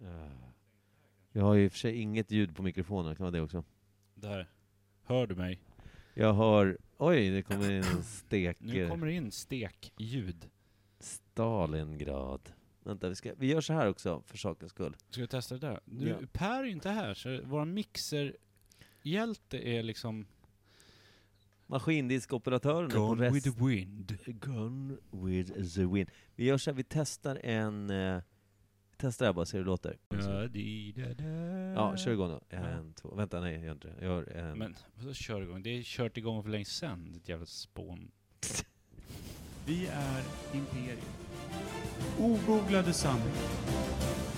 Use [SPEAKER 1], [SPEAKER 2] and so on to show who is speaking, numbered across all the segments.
[SPEAKER 1] Eh, Jag har ju i och för sig inget ljud på mikrofonen, kan vara det också.
[SPEAKER 2] Där. Hör du mig?
[SPEAKER 1] Jag har... Oj, det kommer in en steker.
[SPEAKER 2] Nu kommer det in stekljud.
[SPEAKER 1] Stalingrad. Vänta, vi, ska... vi gör så här också, för sakens skull.
[SPEAKER 2] Ska vi testa det där? Nu,
[SPEAKER 1] Ja.
[SPEAKER 2] Per är inte här, så vår mixerhjälte är liksom...
[SPEAKER 1] Maskindiskoperatören är på rest...
[SPEAKER 2] wind.
[SPEAKER 1] Gone with the wind. Vi gör så här, vi testar en... Eh... vi testar det här bara, ser hur det låter. Ja, kör igång då. En, två... Vänta, nej, jag gör inte det. Jag gör en...
[SPEAKER 2] Men vadå kör igång? Det är kört igång för länge sedan, ditt jävla spån.
[SPEAKER 3] Vi är Imperium. Ogooglade sanningar.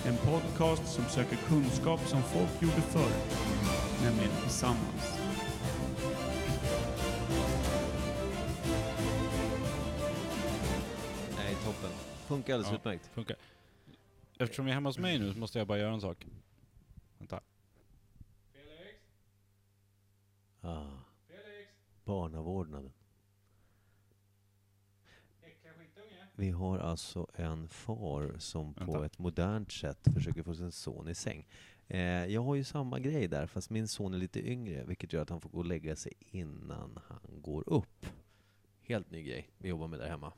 [SPEAKER 3] En podcast som söker kunskap som folk gjorde förr, nämligen tillsammans.
[SPEAKER 1] Nej, toppen. Funkar alldeles
[SPEAKER 2] Ja.
[SPEAKER 1] utmärkt.
[SPEAKER 2] Funkar. Eftersom vi är hemma hos mig nu så måste jag bara göra en sak. Vänta.
[SPEAKER 1] Ah. Barnavårdnaden. Vi har alltså en far som på
[SPEAKER 2] Vänta.
[SPEAKER 1] ett modernt sätt försöker få sin son i säng. Eh, jag har ju samma grej där, fast min son är lite yngre, vilket gör att han får gå och lägga sig innan han går upp. Helt ny grej vi jobbar med där hemma.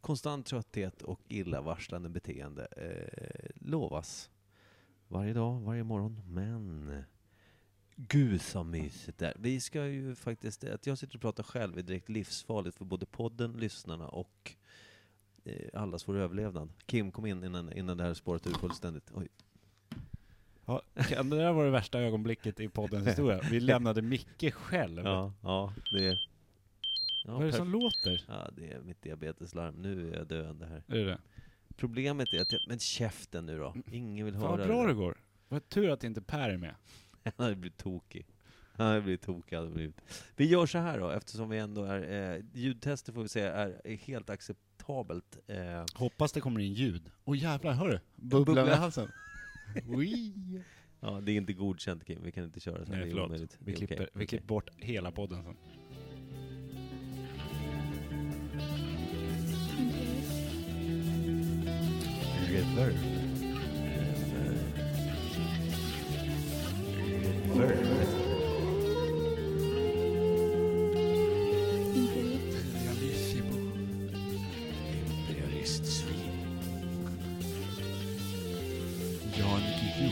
[SPEAKER 1] Konstant trötthet och illavarslande beteende eh, lovas varje dag, varje morgon, men Gud så mysigt där. Vi ska ju faktiskt, att jag sitter och pratar själv är direkt livsfarligt för både podden, lyssnarna och eh, allas vår överlevnad. Kim, kom in innan, innan det här spåret ur fullständigt. Oj.
[SPEAKER 2] Ja, det där var det värsta ögonblicket i poddens historia. Vi lämnade Micke själv.
[SPEAKER 1] Ja, ja, det är... Ja,
[SPEAKER 2] Vad är det
[SPEAKER 1] perfekt.
[SPEAKER 2] som låter?
[SPEAKER 1] ja, det är mitt diabeteslarm. Nu är jag döende här.
[SPEAKER 2] Är det det?
[SPEAKER 1] Problemet är att jag... Men käften nu då. Ingen vill
[SPEAKER 2] Fan
[SPEAKER 1] höra
[SPEAKER 2] vad bra
[SPEAKER 1] det.
[SPEAKER 2] det går. Vad tur att inte Per är med.
[SPEAKER 1] Han hade blivit tokig. Han hade blivit tokig. hade han blivit. Vi gör så här då, eftersom vi ändå är... Eh, ljudtester får vi säga är, är helt acceptabelt. Eh,
[SPEAKER 2] Hoppas det kommer in ljud. Åh oh, jävlar, hör du? Bubblan i
[SPEAKER 1] Bubbla.
[SPEAKER 2] halsen. Ui.
[SPEAKER 1] ja, det är inte godkänt Kim, vi kan inte köra så här.
[SPEAKER 2] Nej
[SPEAKER 1] det är
[SPEAKER 2] förlåt,
[SPEAKER 1] omöjligt. Det
[SPEAKER 2] vi
[SPEAKER 1] är okej.
[SPEAKER 2] klipper, vi klipper bort hela podden sen.
[SPEAKER 1] River.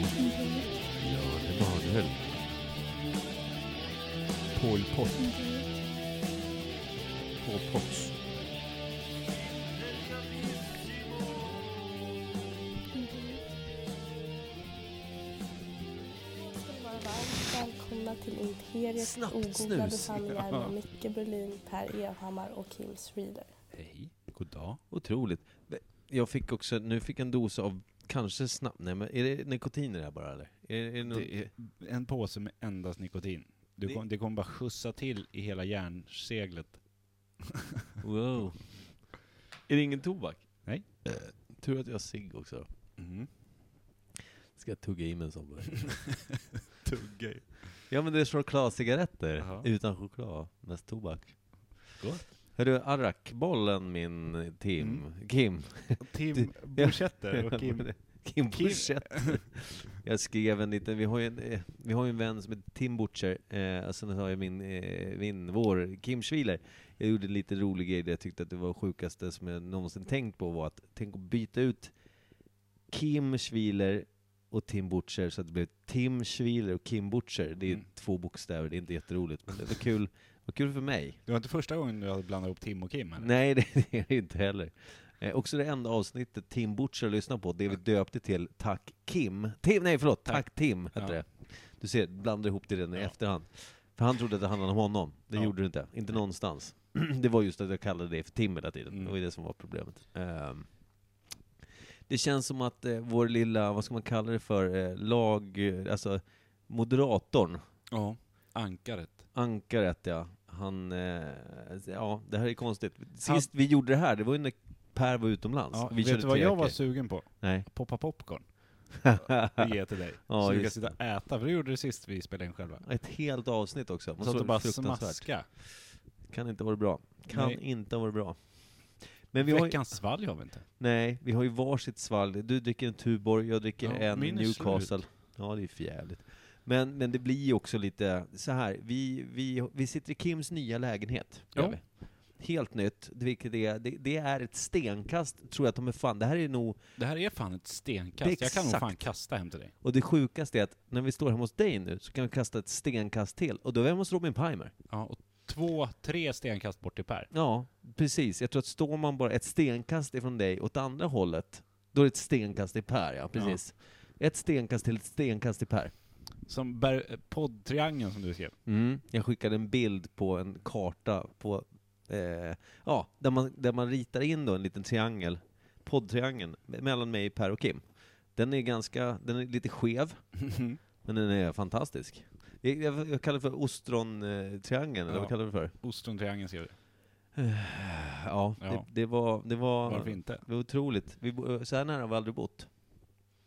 [SPEAKER 1] Jan Emanuel.
[SPEAKER 2] Pol Pot.
[SPEAKER 1] Pol Pot.
[SPEAKER 4] ska ni vara varmt välkomna till Imperiets
[SPEAKER 1] Snabbt
[SPEAKER 4] ogooglade
[SPEAKER 1] snus.
[SPEAKER 4] sanningar med Micke Berlin, Per Evhammar och Kim Reader.
[SPEAKER 2] Hej, god dag.
[SPEAKER 1] Otroligt. Jag fick också, nu fick jag en dos av kanske snabbt, nej men är det nikotin i det här bara eller? Är, är det någon,
[SPEAKER 2] Det är en påse med endast nikotin. Du
[SPEAKER 1] Det-
[SPEAKER 2] kom, det kommer bara skjutsa till i hela järnseglet.
[SPEAKER 1] Wow. Är det ingen tobak? Eh,
[SPEAKER 2] Nej.
[SPEAKER 1] Tur att jag har cigg också.
[SPEAKER 2] Mm.
[SPEAKER 1] Ska jag tugga i mig en sån bara.
[SPEAKER 2] Tugga
[SPEAKER 1] Ja men det är chokladcigaretter.
[SPEAKER 2] Jaha.
[SPEAKER 1] Utan choklad, mest tobak.
[SPEAKER 2] Gott.
[SPEAKER 1] Hördu, arrakbollen min eh, Tim.
[SPEAKER 2] Mm.
[SPEAKER 1] Kim.
[SPEAKER 2] Tim Borsetter och Kim.
[SPEAKER 1] Kim
[SPEAKER 2] Kim-
[SPEAKER 1] Butcher. jag skrev en liten, vi har ju en, eh, vi har ju en vän som heter Tim Butcher, eh, och sen har jag min, eh, min vår Kim Schwiler. Jag gjorde en lite rolig grej där jag tyckte att det var det sjukaste som jag någonsin tänkt på var att, tänk att byta ut Kim Schwiler och Tim Butcher så att det blev Tim Schwiler och Kim Butcher. Det är
[SPEAKER 2] Mm.
[SPEAKER 1] två bokstäver, det är inte jätteroligt, men det var kul, det var kul för mig.
[SPEAKER 2] Det var inte första gången du hade blandat ihop Tim och Kim eller?
[SPEAKER 1] Nej, det det är det inte heller. Eh, också det enda avsnittet Tim Butcher lyssnar på, det vi döpte till Tack Kim. Tim, nej förlåt, Tack,
[SPEAKER 2] Tack.
[SPEAKER 1] Tim hette
[SPEAKER 2] Ja.
[SPEAKER 1] det. Du ser, blandar ihop det redan i
[SPEAKER 2] Ja.
[SPEAKER 1] efterhand. För han trodde att det handlade om honom. Det
[SPEAKER 2] Ja.
[SPEAKER 1] gjorde det inte. Inte någonstans. det var just att jag kallade det för Tim hela tiden.
[SPEAKER 2] Mm.
[SPEAKER 1] Det var ju det som var problemet. Ehm, det känns som att eh, vår lilla, vad ska man kalla det för, eh, lag, eh, alltså moderatorn,
[SPEAKER 2] Ja. Ankaret.
[SPEAKER 1] Ankaret ja. Han, eh, ja det här är konstigt. Sist vi gjorde det här, det var ju när Per var utomlands.
[SPEAKER 2] Ja,
[SPEAKER 1] vi
[SPEAKER 2] vet du vad jag var sugen på?
[SPEAKER 1] Nej.
[SPEAKER 2] Poppa popcorn. och ge till dig.
[SPEAKER 1] Ja,
[SPEAKER 2] så du kan
[SPEAKER 1] just
[SPEAKER 2] sitta och äta, för det gjorde du sist vi spelade in själva.
[SPEAKER 1] Ett helt avsnitt också. Man
[SPEAKER 2] Så att
[SPEAKER 1] såg
[SPEAKER 2] du bara
[SPEAKER 1] fruktansvärt.
[SPEAKER 2] smaska.
[SPEAKER 1] Kan inte vara bra. Kan
[SPEAKER 2] Nej.
[SPEAKER 1] inte vara bra. Men vi har, ju,
[SPEAKER 2] Veckans svalg har vi inte.
[SPEAKER 1] nej, vi har ju varsitt svalg. Du dricker en Tuborg, jag dricker
[SPEAKER 2] Ja,
[SPEAKER 1] en
[SPEAKER 2] min är
[SPEAKER 1] Newcastle. Ja, det är för jävligt. Men, men det blir ju också lite så här. Vi, vi, vi sitter i Kims nya lägenhet.
[SPEAKER 2] Ja.
[SPEAKER 1] gör vi. Helt nytt, vilket är, det, det är ett stenkast, tror jag att de är fan. Det här är nog,
[SPEAKER 2] Det här är fan ett
[SPEAKER 1] Det
[SPEAKER 2] stenkast.
[SPEAKER 1] är
[SPEAKER 2] Jag kan nog fan
[SPEAKER 1] exakt.
[SPEAKER 2] kasta hem till dig.
[SPEAKER 1] och det sjukaste är att när vi står hemma hos dig nu så kan vi kasta ett stenkast till, och då är vi hemma hos Robin Pimer.
[SPEAKER 2] Ja, och två, tre stenkast bort till Per.
[SPEAKER 1] Ja, precis. Jag tror att står man bara ett stenkast ifrån dig åt andra hållet, då är det ett stenkast till Per, ja. Precis. Ett stenkast till ett stenkast till Per.
[SPEAKER 2] Som bär, eh, poddtriangeln som du skrev.
[SPEAKER 1] Mm. Jag skickade en bild på en karta på, eh, ja, där, man, där man ritar in då en liten triangel, poddtriangeln, me- mellan mig, Per och Kim. Den är ganska, den är lite skev, men den är fantastisk. Jag, jag, jag kallar det för ostrontriangeln, eller
[SPEAKER 2] Ja.
[SPEAKER 1] vad kallar du det för?
[SPEAKER 2] Ostrontriangeln skrev du.
[SPEAKER 1] Ja,
[SPEAKER 2] Ja.
[SPEAKER 1] Det, det var, det var,
[SPEAKER 2] Varför inte?
[SPEAKER 1] det var otroligt. Vi, bo- så här nära har vi aldrig bott.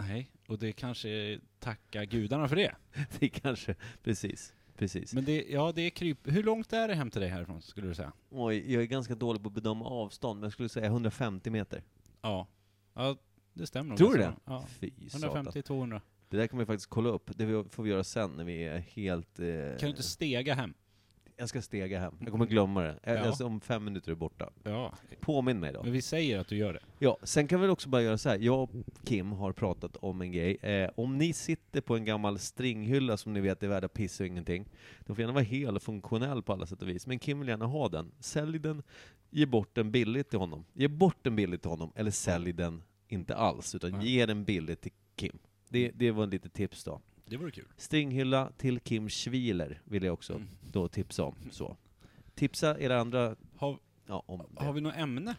[SPEAKER 2] Nej, och det kanske tacka gudarna för det.
[SPEAKER 1] Det kanske, precis, precis.
[SPEAKER 2] Men det, ja, det är kryp... Hur långt är det hem till dig härifrån, skulle du säga?
[SPEAKER 1] Oj, jag är ganska dålig på att bedöma avstånd, men jag skulle säga 150 meter.
[SPEAKER 2] Ja. Ja, det stämmer. nog
[SPEAKER 1] Tror du
[SPEAKER 2] ganska
[SPEAKER 1] det?
[SPEAKER 2] bra.
[SPEAKER 1] Fy
[SPEAKER 2] Ja.
[SPEAKER 1] satan.
[SPEAKER 2] 150-200.
[SPEAKER 1] Det där kan vi faktiskt kolla upp, det vi- får vi göra sen när vi är helt... Eh,
[SPEAKER 2] Kan du inte stega hem?
[SPEAKER 1] Jag ska stega hem, jag kommer glömma det. Eh,
[SPEAKER 2] Ja. Mm.
[SPEAKER 1] Alltså, om fem minuter är borta.
[SPEAKER 2] Ja.
[SPEAKER 1] Påminn mig då.
[SPEAKER 2] Men vi säger att du gör det.
[SPEAKER 1] Ja, sen kan vi väl också bara göra så här. jag och Kim har pratat om en grej. Eh, om ni sitter på en gammal stringhylla som ni vet är värda piss och ingenting, den får gärna vara hel och funktionell på alla sätt och vis, men Kim vill gärna ha den. Sälj den, ge bort den billigt till honom. Ge bort den billigt till honom, eller sälj den inte alls, utan
[SPEAKER 2] Nej.
[SPEAKER 1] ge den billigt till Kim. Det, det var lite tips då.
[SPEAKER 2] Det vore kul.
[SPEAKER 1] Stringhylla till Kim Schwiler vill jag också
[SPEAKER 2] Mm.
[SPEAKER 1] då tipsa om. Så. Tipsa era andra
[SPEAKER 2] Har,
[SPEAKER 1] ja, om det.
[SPEAKER 2] har vi något ämne?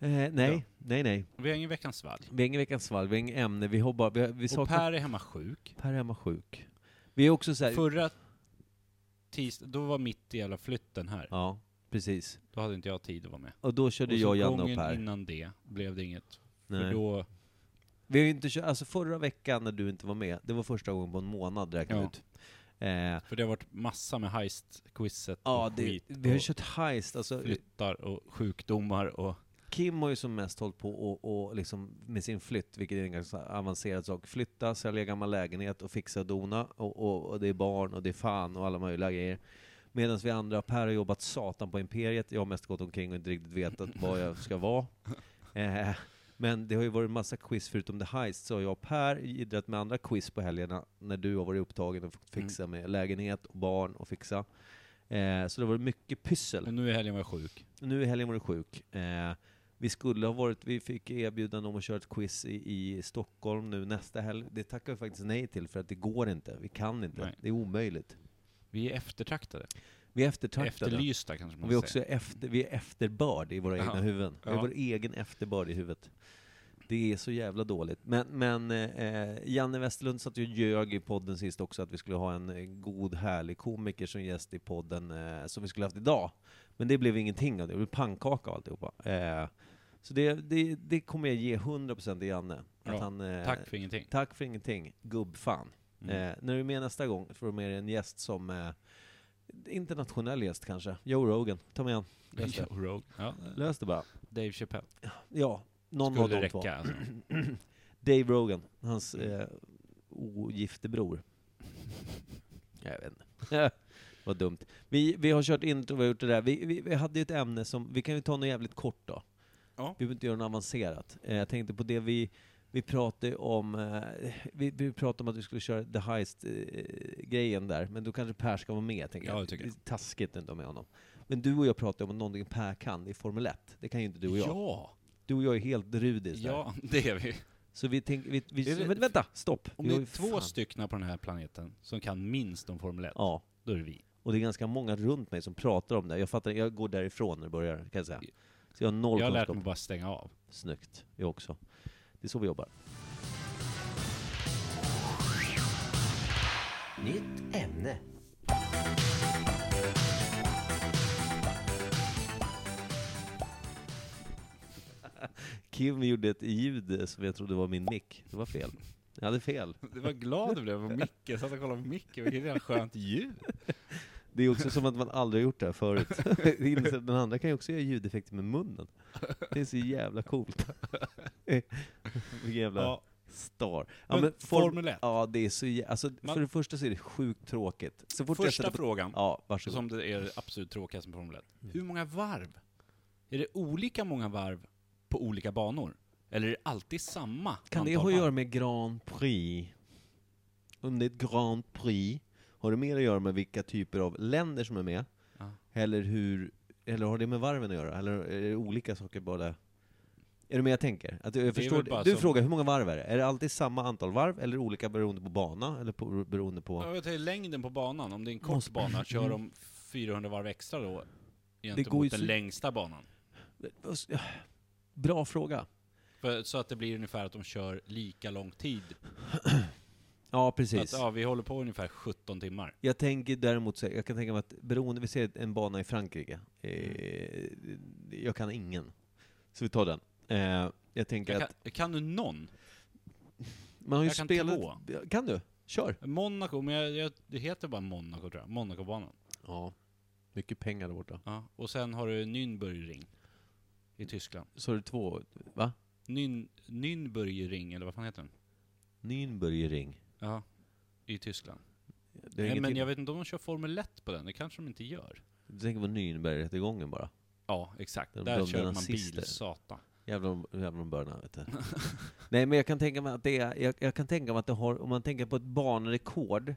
[SPEAKER 1] Eh, nej,
[SPEAKER 2] Ja.
[SPEAKER 1] nej, nej.
[SPEAKER 2] Vi har ingen veckans svalg.
[SPEAKER 1] Vi har ingen veckans svalg, vi har inget ämne, vi har bara... Vi, har, vi
[SPEAKER 2] Och
[SPEAKER 1] saknar...
[SPEAKER 2] Per är hemma sjuk.
[SPEAKER 1] Per är hemma sjuk. Vi är också så här...
[SPEAKER 2] Förra tisdagen, då var mitt i hela flytten här.
[SPEAKER 1] Ja, precis.
[SPEAKER 2] Då hade inte jag tid att vara med.
[SPEAKER 1] Och då körde
[SPEAKER 2] och
[SPEAKER 1] jag,
[SPEAKER 2] så
[SPEAKER 1] Janne och
[SPEAKER 2] gången
[SPEAKER 1] Per.
[SPEAKER 2] innan det blev det inget. För
[SPEAKER 1] Nej.
[SPEAKER 2] då,
[SPEAKER 1] Vi har ju inte kört, alltså förra veckan när du inte var med, det var första gången på en månad räknat
[SPEAKER 2] Ja.
[SPEAKER 1] ut. Eh,
[SPEAKER 2] för det har varit massa med heist-quizet
[SPEAKER 1] ja,
[SPEAKER 2] och
[SPEAKER 1] det,
[SPEAKER 2] skit
[SPEAKER 1] vi har
[SPEAKER 2] och
[SPEAKER 1] kört heist, alltså
[SPEAKER 2] flyttar och sjukdomar och...
[SPEAKER 1] Kim har ju som mest hållit på och, och liksom med sin flytt, vilket är en ganska avancerad sak. Flytta, sälja gammal lägenhet och fixa och dona. Och, och, och det är barn och det är fan och alla möjliga grejer. Medan vi andra, Per har jobbat satan på Imperiet. Jag har mest gått omkring och inte riktigt vetat vad jag ska vara. Eh, men det har ju varit massa quiz förutom The Heist, så jag och Per idrat med andra quiz på helgerna när du har varit upptagen och fått fixa med lägenhet och barn och fixa. Eh, så det har varit mycket pyssel.
[SPEAKER 2] Och nu i helgen var jag sjuk.
[SPEAKER 1] Nu i helgen var du sjuk. Eh, vi skulle ha varit, vi fick erbjudande om att köra ett quiz i, i Stockholm nu nästa helg. Det tackar vi faktiskt nej till för att det går inte. Vi kan inte.
[SPEAKER 2] Nej.
[SPEAKER 1] Det är omöjligt.
[SPEAKER 2] Vi är eftertraktade.
[SPEAKER 1] Vi är eftertraktade.
[SPEAKER 2] Efterlysta kanske man
[SPEAKER 1] Och vi, är
[SPEAKER 2] säga.
[SPEAKER 1] också efter, vi är efterbörd i våra
[SPEAKER 2] Ja.
[SPEAKER 1] egna huvuden. Vi
[SPEAKER 2] Ja.
[SPEAKER 1] har vår egen efterbörd i huvudet. Det är så jävla dåligt. Men, men eh, Janne Westerlund satt ju och ljög i podden sist också att vi skulle ha en eh, god, härlig komiker som gäst i podden, eh, som vi skulle haft idag. Men det blev ingenting av det. Det blev pannkaka och alltihopa. Eh, så det, det, det kommer jag ge 100% till Janne. Att
[SPEAKER 2] Ja.
[SPEAKER 1] han, eh,
[SPEAKER 2] Tack för ingenting.
[SPEAKER 1] tack för ingenting, gubbfan.
[SPEAKER 2] Mm.
[SPEAKER 1] Eh, när du är med nästa gång får du med dig en gäst som eh, internationell gäst kanske. Joe Rogan, ta med han. Lös det.
[SPEAKER 2] Joe Rogan. Ja,
[SPEAKER 1] Lös det bara.
[SPEAKER 2] Dave Chappelle.
[SPEAKER 1] Ja, någon av
[SPEAKER 2] Skulle
[SPEAKER 1] de
[SPEAKER 2] räcka alltså. Mm.
[SPEAKER 1] två. Dave Rogan, hans eh, ogifte bror. Jag vet inte. Vad dumt. Vi, vi har kört intro, vi har gjort det där. Vi, vi, vi hade ju ett ämne som, vi kan ju ta något jävligt kort då.
[SPEAKER 2] Ja.
[SPEAKER 1] Vi behöver inte göra något avancerat. Eh, jag tänkte på det vi, vi pratade om, eh, vi, vi pratade om att vi skulle köra The Heist-grejen där, men då kanske Per ska vara med, tänker
[SPEAKER 2] Ja,
[SPEAKER 1] jag.
[SPEAKER 2] det tycker
[SPEAKER 1] det är taskigt att inte ha med honom. Men du och jag pratade om någonting Per kan i Formel 1. Det kan ju inte du och jag.
[SPEAKER 2] Ja,
[SPEAKER 1] Du och jag är helt rudis där.
[SPEAKER 2] ja, det är vi.
[SPEAKER 1] Så vi tänker, vi, vi,
[SPEAKER 2] Är det-
[SPEAKER 1] men vänta, stopp!
[SPEAKER 2] Om
[SPEAKER 1] Vi
[SPEAKER 2] det
[SPEAKER 1] har
[SPEAKER 2] är
[SPEAKER 1] ju
[SPEAKER 2] två
[SPEAKER 1] fan-
[SPEAKER 2] stycken på den här planeten som kan minst om Formel 1,
[SPEAKER 1] Ja,
[SPEAKER 2] då är det vi.
[SPEAKER 1] och det är ganska många runt mig som pratar om det. Jag fattar jag går därifrån när det börjar, kan jag säga. Så jag har noll
[SPEAKER 2] Jag har lärt
[SPEAKER 1] kunskap.
[SPEAKER 2] mig bara stänga av.
[SPEAKER 1] Snyggt, jag också. Det är så vi jobbar.
[SPEAKER 5] Nytt ämne.
[SPEAKER 1] Kim gjorde ett ljud som jag trodde var min mick. Det var fel. Jag hade fel.
[SPEAKER 2] Det var glad du blev på Micke, jag satt och kollade på Micke, vilket jävla skönt ljud.
[SPEAKER 1] Det är också som att man aldrig har gjort det här förut. Det innebär att Den andra kan ju också göra ljudeffekter med munnen. Det är så jävla coolt. Vilken jävla
[SPEAKER 2] Ja,
[SPEAKER 1] Star. Ja,
[SPEAKER 2] Men
[SPEAKER 1] men
[SPEAKER 2] Formel 1.
[SPEAKER 1] Ja, det är så jä- alltså,
[SPEAKER 2] Man-
[SPEAKER 1] För det första så är det sjukt tråkigt. Så fort jag
[SPEAKER 2] Första
[SPEAKER 1] sätter på...
[SPEAKER 2] frågan,
[SPEAKER 1] Ja, varsågod. Mm.
[SPEAKER 2] som det är det absolut tråkigaste med Formel 1. Hur många varv? Är det olika många varv på olika banor? Eller är det alltid samma
[SPEAKER 1] Kan det
[SPEAKER 2] antal
[SPEAKER 1] ha att
[SPEAKER 2] varv?
[SPEAKER 1] göra med Grand Prix? Om det är ett Grand Prix, har det mer att göra med vilka typer av länder som är med?
[SPEAKER 2] Ja.
[SPEAKER 1] Eller hur, eller har det med varven att göra? Eller är det olika saker båda? Är du med jag tänker? Att jag
[SPEAKER 2] väl bara
[SPEAKER 1] förstår, du
[SPEAKER 2] som-
[SPEAKER 1] frågar, hur många varv är det? Är det alltid samma antal varv, eller olika beroende på bana? Eller på, beroende på...
[SPEAKER 2] Ja, Jag tar längden på banan, om det är en kort
[SPEAKER 1] Måste-
[SPEAKER 2] bana, kör
[SPEAKER 1] Mm.
[SPEAKER 2] de 400 varv extra då? Gentemot
[SPEAKER 1] går ju
[SPEAKER 2] den
[SPEAKER 1] så-
[SPEAKER 2] längsta banan.
[SPEAKER 1] Bra fråga.
[SPEAKER 2] För, så att det blir ungefär att de kör lika lång tid.
[SPEAKER 1] Ja,
[SPEAKER 2] Att,
[SPEAKER 1] precis.
[SPEAKER 2] ja, vi håller på ungefär 17 timmar.
[SPEAKER 1] Jag tänker däremot så här, jag kan tänka mig att beroende, vi ser en bana i Frankrike.
[SPEAKER 2] Mm.
[SPEAKER 1] Eh, jag kan ingen. Så vi tar den. Eh, jag tänker
[SPEAKER 2] Jag
[SPEAKER 1] att,
[SPEAKER 2] kan, kan du någon?
[SPEAKER 1] man har ju
[SPEAKER 2] jag kan
[SPEAKER 1] spelat...
[SPEAKER 2] två.
[SPEAKER 1] Kan du? Kör!
[SPEAKER 2] Monaco, men jag, jag, det heter bara Monaco tror jag. Monacobanan.
[SPEAKER 1] Ja. Mycket pengar där borta.
[SPEAKER 2] Ja. Och sen har du Nürnbergring i Tyskland.
[SPEAKER 1] Så har du två, va?
[SPEAKER 2] Nyn, Nürnbergring, eller vad fan heter den?
[SPEAKER 1] Nürnbergring.
[SPEAKER 2] Ja, i Tyskland.
[SPEAKER 1] Det är
[SPEAKER 2] Nej,
[SPEAKER 1] inget
[SPEAKER 2] men
[SPEAKER 1] till.
[SPEAKER 2] jag vet inte om de kör Formel 1 på den, det kanske de inte gör.
[SPEAKER 1] Du tänker på Nürnbergrättegången bara.
[SPEAKER 2] Ja, exakt.
[SPEAKER 1] De
[SPEAKER 2] Där
[SPEAKER 1] dömde
[SPEAKER 2] körde man
[SPEAKER 1] nazister.
[SPEAKER 2] bilsatan.
[SPEAKER 1] Jävlar om, jävlar om börna, vet du. Nej men jag kan tänka mig att det är, jag, jag kan tänka mig att det har, om man tänker på ett banrekord,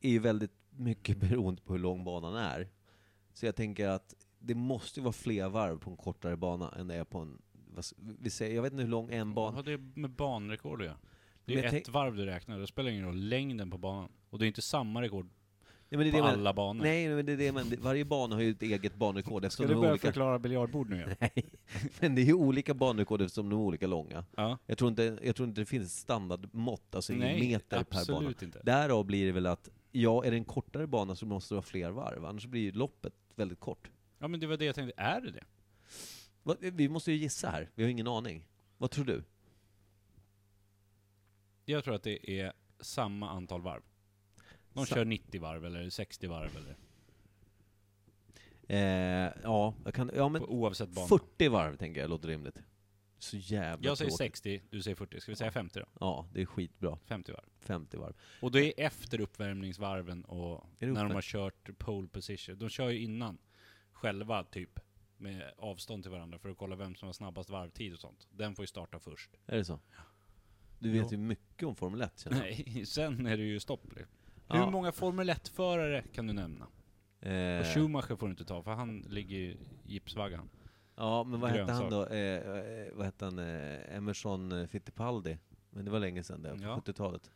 [SPEAKER 1] är ju väldigt mycket beroende på hur lång banan är. Så jag tänker att det måste ju vara fler varv på en kortare bana än det är på en, vad, s- vi säger, jag vet inte hur lång en
[SPEAKER 2] Vad
[SPEAKER 1] bana,
[SPEAKER 2] har det med banrekord att göra? Det
[SPEAKER 1] Men
[SPEAKER 2] är
[SPEAKER 1] jag
[SPEAKER 2] ett
[SPEAKER 1] tänk-
[SPEAKER 2] varv du räknar, det spelar ingen roll längden på banan. Och det är inte samma rekord
[SPEAKER 1] nej men det är det
[SPEAKER 2] på
[SPEAKER 1] jag menar.
[SPEAKER 2] alla banor.
[SPEAKER 1] Nej men det är det jag menar. varje bana har ju ett eget banrekord eftersom de är olika.
[SPEAKER 2] förklara biljardbord nu igen?
[SPEAKER 1] Nej, men det är ju olika banrekord eftersom de är olika långa.
[SPEAKER 2] Ja.
[SPEAKER 1] Jag tror inte, jag tror inte det finns standardmått, alltså i
[SPEAKER 2] Nej,
[SPEAKER 1] meter per bana.
[SPEAKER 2] absolut inte.
[SPEAKER 1] Därav blir det väl att, ja, är det en kortare bana så måste det vara fler varv, annars blir ju loppet väldigt kort.
[SPEAKER 2] Ja men det var det jag tänkte, är det det?
[SPEAKER 1] Vad- Vi måste ju gissa här, vi har ingen aning. Vad tror du?
[SPEAKER 2] Jag tror att det är samma antal varv. De
[SPEAKER 1] Sa-
[SPEAKER 2] kör 90 varv eller 60 varv eller
[SPEAKER 1] Eh, ja, jag kan, ja men
[SPEAKER 2] på, oavsett bana.
[SPEAKER 1] 40 varv tänker jag låter rimligt. Så jävla
[SPEAKER 2] jag säger
[SPEAKER 1] tråkigt.
[SPEAKER 2] 60, du säger 40. Ska vi säga 50 då?
[SPEAKER 1] Ja, det är skitbra.
[SPEAKER 2] 50 varv.
[SPEAKER 1] 50 varv.
[SPEAKER 2] Och det är efter uppvärmningsvarven och
[SPEAKER 1] det
[SPEAKER 2] när de
[SPEAKER 1] uppvärm-
[SPEAKER 2] har kört pole position. De kör ju innan själva typ med avstånd till varandra för att kolla vem som har snabbast varvtid och sånt. Den får ju starta först.
[SPEAKER 1] Är det så? Du vet
[SPEAKER 2] Jo.
[SPEAKER 1] ju mycket om Formel 1 känns det
[SPEAKER 2] Nej, sen är det ju stopp. liksom.
[SPEAKER 1] Ja.
[SPEAKER 2] Hur många Formel 1-förare kan du nämna? Och
[SPEAKER 1] eh,
[SPEAKER 2] Schumacher får du inte ta för han ligger i gipsvaggan.
[SPEAKER 1] Ja, men vad hette han
[SPEAKER 2] grönsak.
[SPEAKER 1] då? Eh, eh, vad hette han? Eh, Emerson eh, Fittipaldi. Men det var länge sedan det, på
[SPEAKER 2] Ja.
[SPEAKER 1] 70-talet.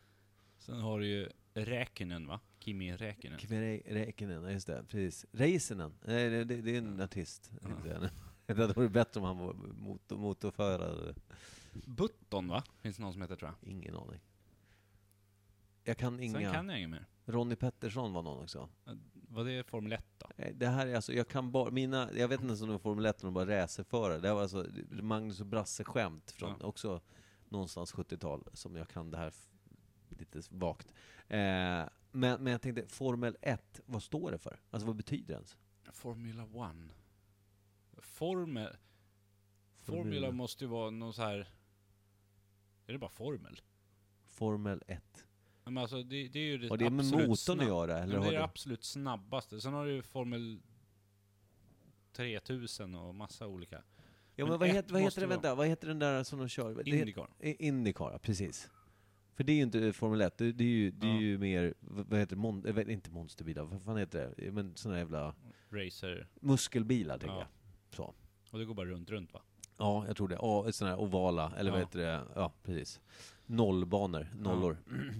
[SPEAKER 2] Sen har du ju Räkinen va? Kimi Räkinen.
[SPEAKER 1] Kimi Rä- Räikkönen, ja just det, precis. Räisinen, nej det, det, det är en artist.
[SPEAKER 2] Ja.
[SPEAKER 1] inte en. Det hade varit bättre om han var motor, motorförare.
[SPEAKER 2] Button va? Finns det någon som heter tror jag.
[SPEAKER 1] Ingen aning. Jag kan
[SPEAKER 2] Sen
[SPEAKER 1] inga.
[SPEAKER 2] kan jag inget mer.
[SPEAKER 1] Ronny Pettersson var någon också.
[SPEAKER 2] Vad är Formel 1 då?
[SPEAKER 1] Nej, Det här är alltså, jag kan bara, mina, jag vet inte ens om det var Formel 1 eller bara racerförare. Det här var alltså Magnus och Brasse-skämt från också någonstans 70-tal, som jag kan det här f- lite vagt. Eh, men, men jag tänkte, Formel 1, vad står det för? Alltså vad betyder det ens?
[SPEAKER 2] Formula 1. Formel... Formula
[SPEAKER 1] Formula.
[SPEAKER 2] måste ju vara någon så här... Är det bara formel?
[SPEAKER 1] Formel 1.
[SPEAKER 2] Ja, Men alltså det, det är ju det
[SPEAKER 1] Har det med
[SPEAKER 2] absolut
[SPEAKER 1] motorn att
[SPEAKER 2] snabb-
[SPEAKER 1] göra?
[SPEAKER 2] Ja,
[SPEAKER 1] Eller
[SPEAKER 2] men Det
[SPEAKER 1] har
[SPEAKER 2] är det
[SPEAKER 1] det...
[SPEAKER 2] absolut snabbaste. Sen har du ju Formel 3000 och massa olika.
[SPEAKER 1] Ja,
[SPEAKER 2] men
[SPEAKER 1] men vad,
[SPEAKER 2] ett
[SPEAKER 1] heter, vad, heter
[SPEAKER 2] måste
[SPEAKER 1] det,
[SPEAKER 2] vara.
[SPEAKER 1] vänta, vad heter den där som de kör? Det heter-
[SPEAKER 2] Indycar.
[SPEAKER 1] I- Indycar, ja, precis. För det är ju inte Formel 1, det, det är ju, det är
[SPEAKER 2] Ja.
[SPEAKER 1] ju mer, vad vad heter det, mon, eh, vad- inte monsterbilar, vad fan heter det? Men såna jävla
[SPEAKER 2] Racer.
[SPEAKER 1] muskelbilar, tänker
[SPEAKER 2] Ja.
[SPEAKER 1] jag. Så.
[SPEAKER 2] Och det går bara runt, runt va?
[SPEAKER 1] Ja, jag tror det. Ja, såna här ovala, eller vad
[SPEAKER 2] Ja.
[SPEAKER 1] heter det? Ja, precis. Nollbanor, nollor.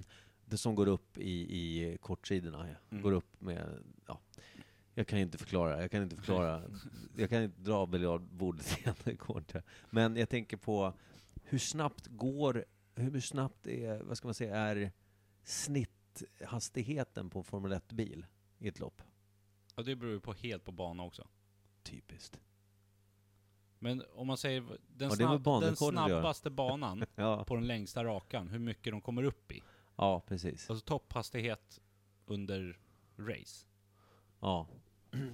[SPEAKER 1] Det som går upp i, i kortsidorna, ja.
[SPEAKER 2] Mm.
[SPEAKER 1] går upp med, ja. Jag kan ju inte förklara, jag kan inte förklara, jag kan inte dra biljardbordet igen, det går inte. Men jag tänker på, hur snabbt går, hur snabbt är, vad ska man säga, är snitthastigheten på en Formel 1-bil i ett lopp?
[SPEAKER 2] Ja, det beror ju på helt på bana också.
[SPEAKER 1] Typiskt.
[SPEAKER 2] Men om man säger den,
[SPEAKER 1] Ja, det är väl
[SPEAKER 2] snabb, den
[SPEAKER 1] banrekordet att göra.
[SPEAKER 2] snabbaste banan
[SPEAKER 1] Ja,
[SPEAKER 2] på den längsta rakan, hur mycket de kommer upp i.
[SPEAKER 1] ja precis.
[SPEAKER 2] Alltså topphastighet under race.
[SPEAKER 1] Ja.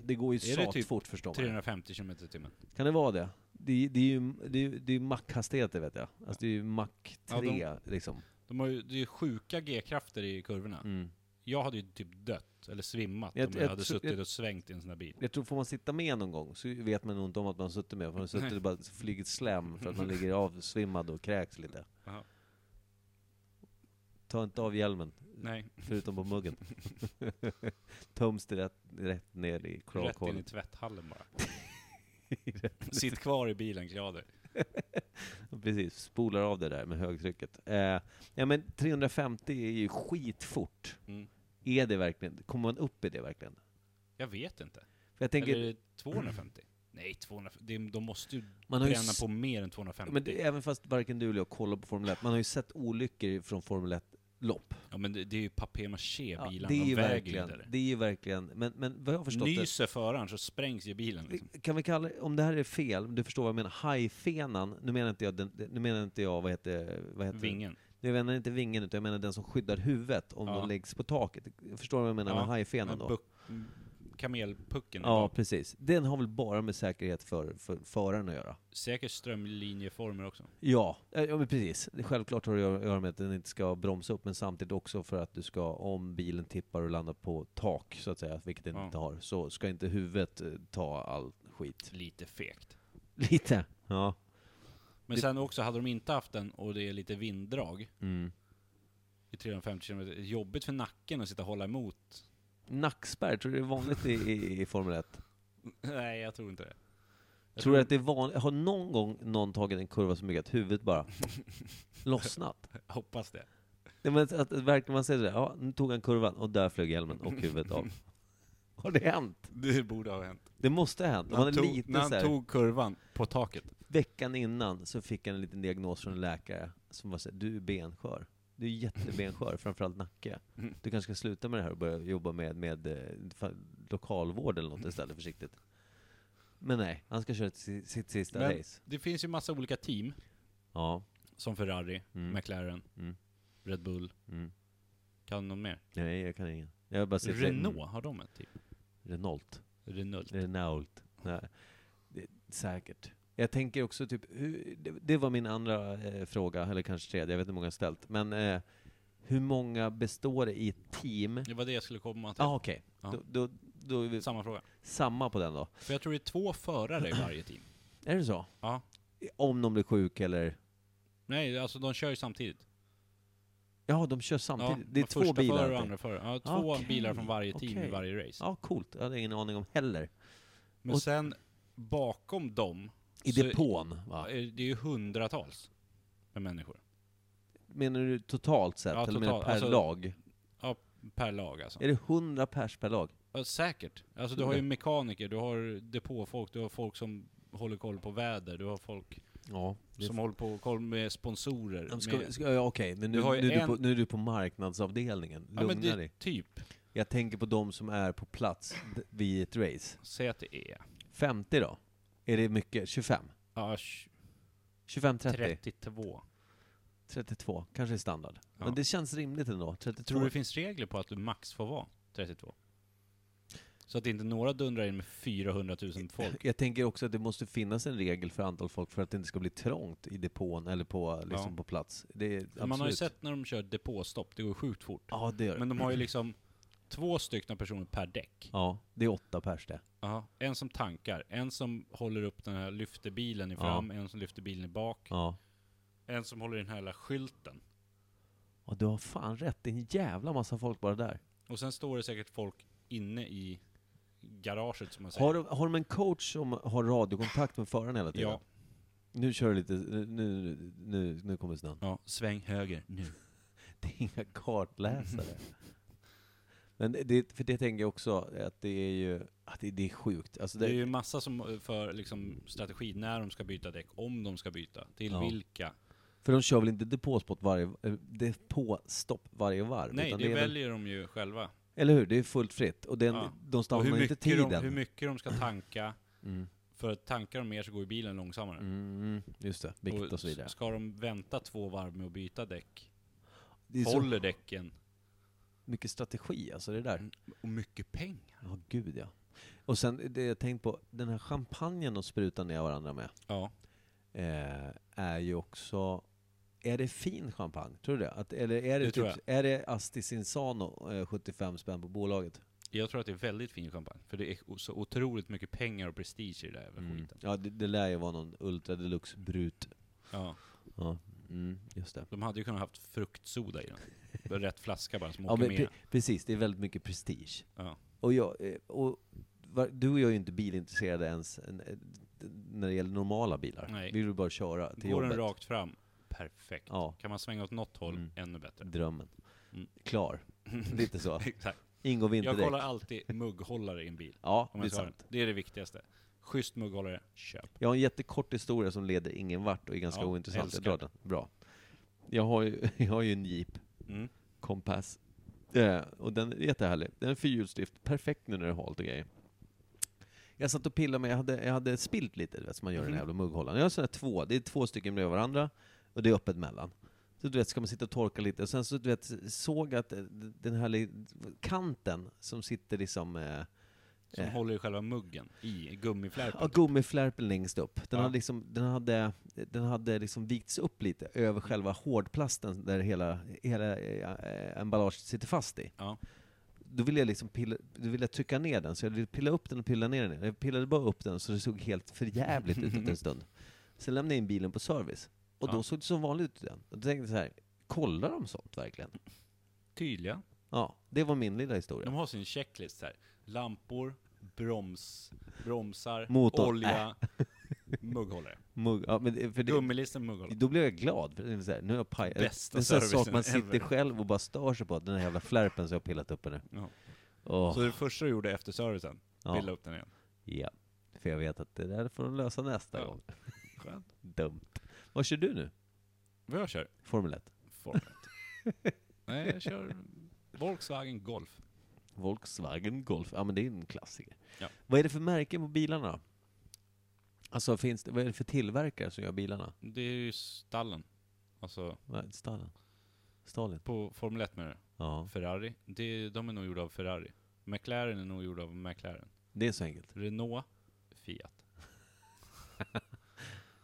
[SPEAKER 1] Det går ju
[SPEAKER 2] Är det typ
[SPEAKER 1] satfort förstår man.
[SPEAKER 2] 350 km i timmen.
[SPEAKER 1] Kan det vara det? Det, det är ju det är, det är mackhastigheter vet jag. Alltså det är ju mack 3
[SPEAKER 2] Ja, de-
[SPEAKER 1] liksom.
[SPEAKER 2] De har ju, det är ju sjuka G-krafter i kurvorna.
[SPEAKER 1] Mm.
[SPEAKER 2] Jag hade ju typ dött, eller svimmat,
[SPEAKER 1] Jag-
[SPEAKER 2] om jag,
[SPEAKER 1] jag
[SPEAKER 2] hade
[SPEAKER 1] tror-
[SPEAKER 2] suttit
[SPEAKER 1] jag-
[SPEAKER 2] och svängt i en sån här bil.
[SPEAKER 1] Jag tror, får man sitta med någon gång så vet man nog inte om att man har suttit med. För man har suttit och bara flugit slem för att man ligger avsvimmad och kräks lite.
[SPEAKER 2] Jaha.
[SPEAKER 1] Ta inte av hjälmen,
[SPEAKER 2] Nej,
[SPEAKER 1] förutom på muggen. Töms det rätt, rätt ner i
[SPEAKER 2] rätt in i
[SPEAKER 1] kloakhålet.
[SPEAKER 2] tvätthallen bara. Sitt kvar i bilen, klä av dig.
[SPEAKER 1] Precis, spolar av det där med högtrycket. Eh, ja men 350 är ju skitfort.
[SPEAKER 2] Mm.
[SPEAKER 1] Är det verkligen, kommer man upp i det verkligen?
[SPEAKER 2] Jag vet inte.
[SPEAKER 1] För jag tänker,
[SPEAKER 2] Eller är det 250? Nej, 250. det- De måste ju
[SPEAKER 1] man har ju
[SPEAKER 2] bränna
[SPEAKER 1] s-
[SPEAKER 2] på mer än 250.
[SPEAKER 1] Men det, även fast varken du eller jag kollar på Formel 1, man har ju sett olyckor från Formel 1-lopp.
[SPEAKER 2] Ja men det, det är ju papier-maché bilarna,
[SPEAKER 1] det är ju
[SPEAKER 2] de väger ju
[SPEAKER 1] verkligen,
[SPEAKER 2] inte det. liksom.
[SPEAKER 1] det är ju verkligen, men, men vad jag har förstått
[SPEAKER 2] Nyser föraren så sprängs ju bilen liksom.
[SPEAKER 1] det, kan vi kalla det- om det här är fel, du förstår vad jag menar, hajfenan, nu menar inte jag, den, nu menar inte jag vad heter, vad heter
[SPEAKER 2] Vingen.
[SPEAKER 1] Jag menar inte vingen, utan jag menar den som skyddar huvudet om
[SPEAKER 2] Ja.
[SPEAKER 1] de läggs på taket. Förstår du vad jag menar
[SPEAKER 2] Ja, liksom.
[SPEAKER 1] med hajfenan då?
[SPEAKER 2] Den här buck- mm, Kamelpucken.
[SPEAKER 1] Ja,
[SPEAKER 2] Ja.
[SPEAKER 1] precis. Den har väl bara med säkerhet för, för föraren att göra?
[SPEAKER 2] Säkert strömlinjeformer också.
[SPEAKER 1] Ja, eh, ja men precis. Det- Självklart har det att göra- göra med att den inte ska bromsa upp, men samtidigt också för att du ska, om bilen tippar och landar på tak, så att säga, vilket den
[SPEAKER 2] Ja.
[SPEAKER 1] inte har, så ska inte huvudet eh, ta all skit.
[SPEAKER 2] Lite fegt.
[SPEAKER 1] Lite. Ja.
[SPEAKER 2] Men
[SPEAKER 1] Det-
[SPEAKER 2] sen också, hade de inte haft den och det är lite vinddrag
[SPEAKER 1] Mm.
[SPEAKER 2] i 350 km, jobbigt för nacken att sitta och hålla emot.
[SPEAKER 1] Nackspärr, tror du det är vanligt i, i, i Formel 1?
[SPEAKER 2] Nej, jag tror inte det. Jag
[SPEAKER 1] Tror du att det är vanligt? Har någon gång någon tagit en kurva så mycket att huvudet bara lossnat?
[SPEAKER 2] jag hoppas det.
[SPEAKER 1] Nej, men att, att verkligen man säger sådär, ja, nu tog han kurvan och där flög hjälmen och huvudet av. Har det hänt?
[SPEAKER 2] Det borde ha hänt.
[SPEAKER 1] Det måste ha hänt.
[SPEAKER 2] När
[SPEAKER 1] Man är
[SPEAKER 2] han,
[SPEAKER 1] lite
[SPEAKER 2] tog, när han
[SPEAKER 1] så här-
[SPEAKER 2] tog kurvan på taket.
[SPEAKER 1] Veckan innan så fick han en liten diagnos från en läkare som var såhär, du är benskör. Du är jättebenskör, framförallt nacke.
[SPEAKER 2] Mm.
[SPEAKER 1] Du kanske ska sluta med det här och börja jobba med, med eh, fa- lokalvård eller något istället, försiktigt. Men nej, han ska köra sitt, sitt sista
[SPEAKER 2] Men-
[SPEAKER 1] race.
[SPEAKER 2] Det finns ju massa olika team,
[SPEAKER 1] Ja.
[SPEAKER 2] som Ferrari,
[SPEAKER 1] Mm.
[SPEAKER 2] McLaren,
[SPEAKER 1] Mm.
[SPEAKER 2] Red Bull.
[SPEAKER 1] Mm.
[SPEAKER 2] Kan någon mer?
[SPEAKER 1] Nej, jag kan ingen. Jag har bara sett
[SPEAKER 2] Renault, har de ett team?
[SPEAKER 1] Renault.
[SPEAKER 2] Renault.
[SPEAKER 1] Renault. Nej. Det, säkert. Jag tänker också typ, hur, det, det var min andra eh, fråga, eller kanske tredje, jag vet inte hur många jag har ställt. Men eh, hur många består det i ett team?
[SPEAKER 2] Det var det jag skulle komma till.
[SPEAKER 1] Ah, okej.
[SPEAKER 2] typ. Ja.
[SPEAKER 1] Då, då, då är vi
[SPEAKER 2] Samma fråga.
[SPEAKER 1] samma på den då.
[SPEAKER 2] För jag tror det är två förare i varje team.
[SPEAKER 1] Är det så?
[SPEAKER 2] Ja.
[SPEAKER 1] Om de blir sjuka eller...
[SPEAKER 2] Nej, alltså de kör ju samtidigt.
[SPEAKER 1] Ja, de kör
[SPEAKER 2] Ja,
[SPEAKER 1] samtidigt. det är
[SPEAKER 2] de
[SPEAKER 1] två
[SPEAKER 2] första
[SPEAKER 1] bilar.
[SPEAKER 2] förare och
[SPEAKER 1] okej.
[SPEAKER 2] andra förare. Ja, två
[SPEAKER 1] Okej,
[SPEAKER 2] bilar från varje team
[SPEAKER 1] okej.
[SPEAKER 2] i varje race.
[SPEAKER 1] Ja, coolt. Jag hade ingen aning om heller.
[SPEAKER 2] Men
[SPEAKER 1] och-
[SPEAKER 2] sen bakom dem,
[SPEAKER 1] I
[SPEAKER 2] Så-
[SPEAKER 1] depån, va?
[SPEAKER 2] är det är ju hundratals med människor.
[SPEAKER 1] Menar du totalt sett?
[SPEAKER 2] Ja,
[SPEAKER 1] eller menar du
[SPEAKER 2] totalt.
[SPEAKER 1] per
[SPEAKER 2] Alltså-
[SPEAKER 1] lag?
[SPEAKER 2] Per lag alltså.
[SPEAKER 1] Är det Mm. 100 pers per lag?
[SPEAKER 2] Ja, säkert. Alltså du har ju mekaniker, du har depåfolk, du har folk som håller koll på väder, du har folk
[SPEAKER 1] Ja. det-
[SPEAKER 2] som håller på koll med sponsorer.
[SPEAKER 1] De ska,
[SPEAKER 2] med,
[SPEAKER 1] ska, ja, okej, men nu,
[SPEAKER 2] Du har
[SPEAKER 1] nu,
[SPEAKER 2] ju
[SPEAKER 1] är du
[SPEAKER 2] en-
[SPEAKER 1] på, nu är du på marknadsavdelningen. Lugna
[SPEAKER 2] ja men det,
[SPEAKER 1] dig.
[SPEAKER 2] typ.
[SPEAKER 1] Jag tänker på de som är på plats d- vid ett race.
[SPEAKER 2] Säg att det är
[SPEAKER 1] 50 då? Är det mycket? 25?
[SPEAKER 2] ja, tj-
[SPEAKER 1] 25, 30?
[SPEAKER 2] 32.
[SPEAKER 1] 32, kanske är standard.
[SPEAKER 2] Ja.
[SPEAKER 1] Men det känns rimligt ändå. 32.
[SPEAKER 2] Tror du det finns regler på att du max får vara 32? Så att inte några dundrar in med 400 000 folk.
[SPEAKER 1] Jag tänker också att det måste finnas en regel för antal folk för att det inte ska bli trångt i depån eller på, liksom,
[SPEAKER 2] Ja.
[SPEAKER 1] på plats. Det är absolut.
[SPEAKER 2] Man har ju sett när de kör depåstopp, det går sjukt fort.
[SPEAKER 1] Ja, det gör det.
[SPEAKER 2] Men de har ju liksom två stycken personer per däck.
[SPEAKER 1] Ja, det är åtta pers det.
[SPEAKER 2] Ja, En som tankar, en som håller upp den här, lyfter bilen i fram, en som lyfter bilen i bak,
[SPEAKER 1] Ja.
[SPEAKER 2] en som håller i den här lilla skylten.
[SPEAKER 1] Och du har fan rätt, det är en jävla massa folk bara där.
[SPEAKER 2] Och sen står det säkert folk inne i garaget som man säger.
[SPEAKER 1] Har de, har de en coach som har radiokontakt med föraren hela tiden?
[SPEAKER 2] Ja.
[SPEAKER 1] Nu kör du lite, nu, nu, nu, nu kommer snön.
[SPEAKER 2] Ja, sväng höger nu.
[SPEAKER 1] Det är inga kartläsare. Men det, för det tänker jag också, att det är ju, att det, det är sjukt. Alltså
[SPEAKER 2] Det
[SPEAKER 1] det,
[SPEAKER 2] är ju massa som eh, för liksom strategi när de ska byta däck, om de ska byta, till
[SPEAKER 1] Ja.
[SPEAKER 2] vilka.
[SPEAKER 1] För de kör väl inte depåspot varje, eh, depåstopp varje varv?
[SPEAKER 2] Nej,
[SPEAKER 1] utan
[SPEAKER 2] det
[SPEAKER 1] är väl-
[SPEAKER 2] väljer de ju själva.
[SPEAKER 1] Eller hur? Det är fullt fritt. Och den,
[SPEAKER 2] Ja.
[SPEAKER 1] de
[SPEAKER 2] Och hur
[SPEAKER 1] stannar inte
[SPEAKER 2] mycket,
[SPEAKER 1] tiden.
[SPEAKER 2] de, hur mycket de ska tanka,
[SPEAKER 1] mm.
[SPEAKER 2] för att tankar de mer så går ju bilen långsammare.
[SPEAKER 1] Mm, just det, vikt och så vidare.
[SPEAKER 2] Ska de vänta två varv med att byta däck,
[SPEAKER 1] Det är så
[SPEAKER 2] håller däcken,
[SPEAKER 1] mycket strategi alltså, det där.
[SPEAKER 2] och mycket pengar.
[SPEAKER 1] Ja, gud ja. Och sen, det jag tänkt på, den här champagnen de sprutar ner varandra med,
[SPEAKER 2] Ja.
[SPEAKER 1] eh, är ju också... Är det fin champagne? Tror du det? Att, eller är det,
[SPEAKER 2] Det tror
[SPEAKER 1] typ, är det Asti Sinsano, eh, 75 spänn på bolaget?
[SPEAKER 2] Jag tror att det är väldigt fin champagne. För det är o- så otroligt mycket pengar och prestige i det där jävla skiten.
[SPEAKER 1] Mm. Ja, det, det lär ju vara någon Ultra Deluxe Brut.
[SPEAKER 2] Ja.
[SPEAKER 1] Ja, mm, just det.
[SPEAKER 2] De hade ju kunnat haft fruktsoda i den. Bara Rätt flaska bara som
[SPEAKER 1] Ja,
[SPEAKER 2] åker
[SPEAKER 1] men
[SPEAKER 2] med.
[SPEAKER 1] pre- precis, det är väldigt mycket prestige.
[SPEAKER 2] Ja.
[SPEAKER 1] Och jag, eh, och, va- du och jag är ju inte bilintresserade ens eh, när det gäller normala bilar.
[SPEAKER 2] Nej.
[SPEAKER 1] Vi vill bara köra till
[SPEAKER 2] Går
[SPEAKER 1] jobbet.
[SPEAKER 2] den rakt fram, perfekt.
[SPEAKER 1] Ja.
[SPEAKER 2] Kan man svänga åt något håll,
[SPEAKER 1] Mm.
[SPEAKER 2] ännu bättre.
[SPEAKER 1] Drömmen.
[SPEAKER 2] Mm.
[SPEAKER 1] Klar. Lite så.
[SPEAKER 2] Exakt.
[SPEAKER 1] Ingår vi inte
[SPEAKER 2] Jag kollar
[SPEAKER 1] direkt.
[SPEAKER 2] alltid mugghållare i en bil.
[SPEAKER 1] Ja,
[SPEAKER 2] Om
[SPEAKER 1] det är
[SPEAKER 2] jag tar den.
[SPEAKER 1] sant.
[SPEAKER 2] Det är det viktigaste. Schysst mugghållare, köp.
[SPEAKER 1] Jag har en jättekort historia som leder ingen vart och är ganska
[SPEAKER 2] Ja,
[SPEAKER 1] ointressant.
[SPEAKER 2] älskar.
[SPEAKER 1] Jag drar den. Bra. Jag har, ju, jag har ju en Jeep
[SPEAKER 2] Mm.
[SPEAKER 1] Compass. Eh, och den är jättehärlig. Den är fyrhjulsdrift, perfekt nu när det är halt och grejer. Jag satt och pillade, men jag hade, jag hade spilt lite, du vet, som man gör i den här
[SPEAKER 2] Mhm.
[SPEAKER 1] jävla mugghållaren. Jag har sådana här två, det är två stycken bredvid varandra, och det är öppet mellan. Så du vet, ska man sitta och torka lite, och sen så du vet, såg jag att eh, den här li- kanten som sitter liksom, eh,
[SPEAKER 2] Som
[SPEAKER 1] Eh.
[SPEAKER 2] håller i själva muggen, i gummiflärpen.
[SPEAKER 1] ja, gummiflärpen längst upp, den
[SPEAKER 2] Ja.
[SPEAKER 1] hade liksom, den hade, den hade liksom vikts upp lite
[SPEAKER 2] Mm.
[SPEAKER 1] över själva hårdplasten där hela, hela eh, eh, emballaget sitter fast i.
[SPEAKER 2] Ja.
[SPEAKER 1] då ville jag liksom pilla, då ville jag trycka ner den, så jag ville pilla upp den och pilla ner den. Jag pillade bara upp den så det såg helt förjävligt ut efter en stund. Sen lämnade jag in bilen på service, och då
[SPEAKER 2] Ja.
[SPEAKER 1] såg det som vanligt ut i den. Och då tänkte jag så här, kollar de sånt verkligen?
[SPEAKER 2] Tydliga.
[SPEAKER 1] Ja, det var min lilla historia.
[SPEAKER 2] De har sin checklist här. Lampor, broms, bromsar,
[SPEAKER 1] Motor.
[SPEAKER 2] olja, mugghållare.
[SPEAKER 1] Mugg, ja, men det, för det,
[SPEAKER 2] Gummilisten mugghållare.
[SPEAKER 1] då blev jag glad, för det är så här, nu har jag pajat. Det
[SPEAKER 2] Bästa
[SPEAKER 1] är en sån här sak
[SPEAKER 2] servicen
[SPEAKER 1] man sitter
[SPEAKER 2] ever.
[SPEAKER 1] själv och bara stör sig på, den här jävla flärpen som jag har pillat upp henne.
[SPEAKER 2] Ja.
[SPEAKER 1] Åh,
[SPEAKER 2] Så det första du gjorde efter servicen, pilla upp den igen.
[SPEAKER 1] ja. För jag vet att det där får de lösa nästa
[SPEAKER 2] Ja.
[SPEAKER 1] gång.
[SPEAKER 2] Skönt.
[SPEAKER 1] Dumt. Vad kör du nu?
[SPEAKER 2] Vad jag kör?
[SPEAKER 1] Formel 1?
[SPEAKER 2] Formel 1. Nej, jag kör Volkswagen Golf.
[SPEAKER 1] Volkswagen Golf, ja men det är en klassiker.
[SPEAKER 2] Ja.
[SPEAKER 1] Vad är det för märken på bilarna då? Alltså finns det, vad är det för tillverkare som gör bilarna?
[SPEAKER 2] Det är ju stallen. Alltså,
[SPEAKER 1] Vad är det? Stalin? Stalin?
[SPEAKER 2] på Formel 1 med det.
[SPEAKER 1] Ja,
[SPEAKER 2] Ferrari. Det, de är nog gjorda av Ferrari. McLaren är nog gjord av McLaren.
[SPEAKER 1] det är så enkelt.
[SPEAKER 2] Renault, Fiat.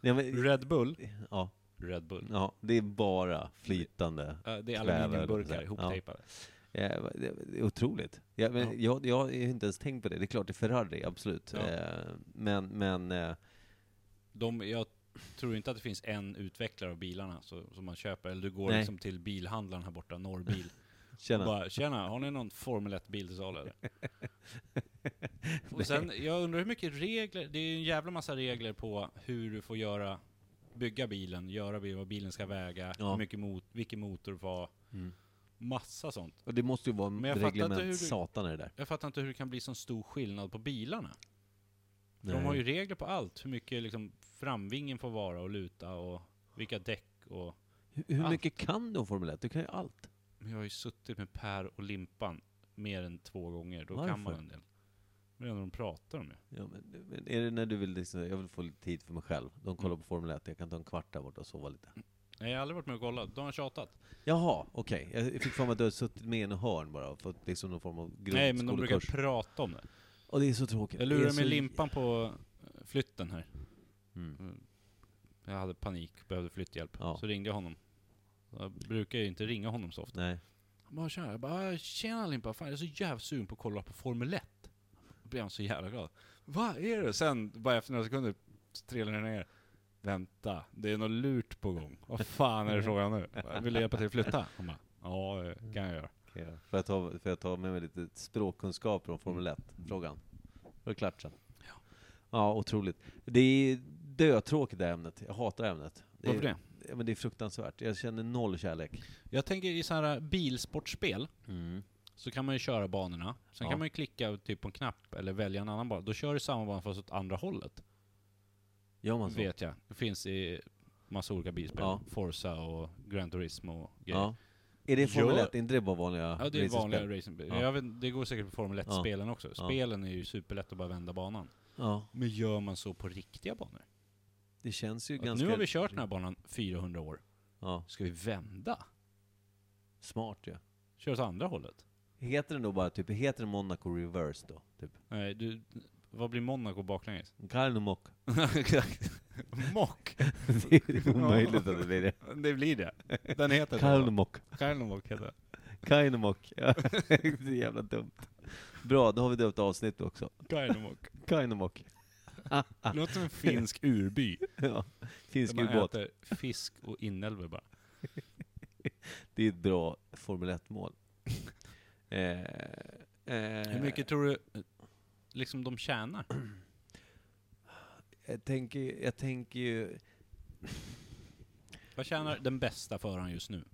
[SPEAKER 1] Ja, men,
[SPEAKER 2] Eh, Red Bull, Mm.
[SPEAKER 1] ja,
[SPEAKER 2] Red Bull.
[SPEAKER 1] ja, det är bara flytande.
[SPEAKER 2] Eh, det är
[SPEAKER 1] Kväve,
[SPEAKER 2] aluminiumburkar
[SPEAKER 1] eller vad man säger.
[SPEAKER 2] ihoptejpade.
[SPEAKER 1] Eh, vad- Det det är otroligt. Ja, men
[SPEAKER 2] Ja.
[SPEAKER 1] Jag, jag har ju inte ens tänkt på det. Det är klart det är Ferrari, absolut.
[SPEAKER 2] Ja.
[SPEAKER 1] Eh, Men, men eh,
[SPEAKER 2] De, jag tror inte att det finns en utvecklare av bilarna så, som man köper. Eller du går
[SPEAKER 1] Nej.
[SPEAKER 2] liksom till bilhandlaren här borta, Norrbil. och
[SPEAKER 1] tjena.
[SPEAKER 2] bara ”Tjena, har ni någon Formel 1-bil till salu eller?” Och sen, jag undrar hur mycket regler, det är ju en jävla massa regler på hur du får göra, bygga bilen, göra bilen, vad bilen ska väga,
[SPEAKER 1] Ja.
[SPEAKER 2] hur mycket mot, vilken motor var,
[SPEAKER 1] Mm.
[SPEAKER 2] massa sånt.
[SPEAKER 1] Och det måste ju vara
[SPEAKER 2] Men jag fattar inte hur
[SPEAKER 1] reglement
[SPEAKER 2] du-
[SPEAKER 1] satan är det där.
[SPEAKER 2] Jag fattar inte hur det kan bli sån stor skillnad på bilarna. För
[SPEAKER 1] Nej.
[SPEAKER 2] De har ju regler på allt, hur mycket liksom framvingen får vara och luta och vilka däck och...
[SPEAKER 1] Hur- Hur
[SPEAKER 2] allt.
[SPEAKER 1] mycket kan du om Formel 1? Du kan ju allt.
[SPEAKER 2] Men jag har ju suttit med Per och Limpan mer än två gånger, då kan man
[SPEAKER 1] Varför?
[SPEAKER 2] en del. Men det är när de pratar om det.
[SPEAKER 1] Ja, men, men är det när du vill liksom, jag vill få lite tid för mig själv. De kollar på Formel 1, jag kan ta en kvart där borta och sova lite.
[SPEAKER 2] Nej, Jag har aldrig varit med och kollat, de har tjatat.
[SPEAKER 1] Jaha, okej. Jag fick för mig att du har suttit med i en hörn bara och fått liksom någon form av
[SPEAKER 2] Nej, men de brukar
[SPEAKER 1] grundskolekurs.
[SPEAKER 2] prata om det.
[SPEAKER 1] Och det är så tråkigt.
[SPEAKER 2] Jag
[SPEAKER 1] Det är
[SPEAKER 2] lurade
[SPEAKER 1] så-
[SPEAKER 2] med limpan på eh, flytten här.
[SPEAKER 1] Mm.
[SPEAKER 2] Jag hade panik, behövde flytthjälp.
[SPEAKER 1] Ja.
[SPEAKER 2] Så ringde jag honom. Jag brukar ju inte ringa honom så ofta.
[SPEAKER 1] Nej.
[SPEAKER 2] Han bara tjena, jag bara "Ah, tjena Limpa, fan jag är så jävla sugen på att kolla på Formel 1. Då blev han så jävla glad. Vad är det? Sen, bara efter några sekunder, trillar det ner. Vänta, det är något lurt på gång. Vad fan är det frågan nu? Jag bara, Vill du hjälpa till att flytta? Han bara, ja det kan jag göra.
[SPEAKER 1] Okay. Får, jag ta, får jag ta med mig lite språkkunskaper om Formel 1-frågan? Då är det klart sen.
[SPEAKER 2] Mm. Ja.
[SPEAKER 1] ja, otroligt. Det är dötråkigt det här ämnet. Jag hatar ämnet. Det är,
[SPEAKER 2] Varför det?
[SPEAKER 1] Ja, men det är fruktansvärt. Jag känner noll kärlek.
[SPEAKER 2] Jag tänker i sådana här eh, bilsportspel,
[SPEAKER 1] Mm.
[SPEAKER 2] så kan man ju köra banorna. Sen
[SPEAKER 1] Ja.
[SPEAKER 2] kan man ju klicka typ på en knapp eller välja en annan bana. Då kör du samma bana fast åt andra hållet.
[SPEAKER 1] Gör man så?
[SPEAKER 2] Vet jag. Det finns i massa olika bilspel.
[SPEAKER 1] Ja.
[SPEAKER 2] Forza och Gran Turismo och grejer. Ja.
[SPEAKER 1] Ja. Är det Formel
[SPEAKER 2] Gör-
[SPEAKER 1] 1? Är inte det bara vanliga
[SPEAKER 2] Ja, det är
[SPEAKER 1] racerspel?
[SPEAKER 2] vanliga racingbil.
[SPEAKER 1] Ja.
[SPEAKER 2] Jag vet, det går säkert på Formel 1-spelen också.
[SPEAKER 1] Ja.
[SPEAKER 2] Spelen är ju superlätt att bara vända banan.
[SPEAKER 1] Ja.
[SPEAKER 2] Men gör man så på riktiga banor?
[SPEAKER 1] Det känns ju
[SPEAKER 2] Att
[SPEAKER 1] ganska...
[SPEAKER 2] Nu har vi kört den här banan 400 år.
[SPEAKER 1] Ja,
[SPEAKER 2] Ska vi vända?
[SPEAKER 1] smart ju.
[SPEAKER 2] Köra åt andra hållet?
[SPEAKER 1] Heter den då bara typ, heter den Monaco Reverse då? Typ.
[SPEAKER 2] Nej, du, vad blir Monaco baklänges?
[SPEAKER 1] Karnomok.
[SPEAKER 2] Mock!
[SPEAKER 1] det är omöjligt att det blir det.
[SPEAKER 2] Det blir det. Den heter det.
[SPEAKER 1] Karnomok.
[SPEAKER 2] Karlmock heter den.
[SPEAKER 1] Kainomok. Ja, det är jävla dumt. Bra, då har vi döpt avsnitt också.
[SPEAKER 2] Karlmock.
[SPEAKER 1] Kainomok.
[SPEAKER 2] Det Låter som en finsk urby.
[SPEAKER 1] Ja.
[SPEAKER 2] Där
[SPEAKER 1] Ah. Finsk
[SPEAKER 2] man
[SPEAKER 1] ubåt.
[SPEAKER 2] äter fisk och inälvor bara.
[SPEAKER 1] Det är ett bra Formel 1-mål. Eh, eh,
[SPEAKER 2] Hur mycket tror du eh, liksom de tjänar?
[SPEAKER 1] jag tänker, jag tänker ju...
[SPEAKER 2] Vad tjänar den bästa föraren just nu?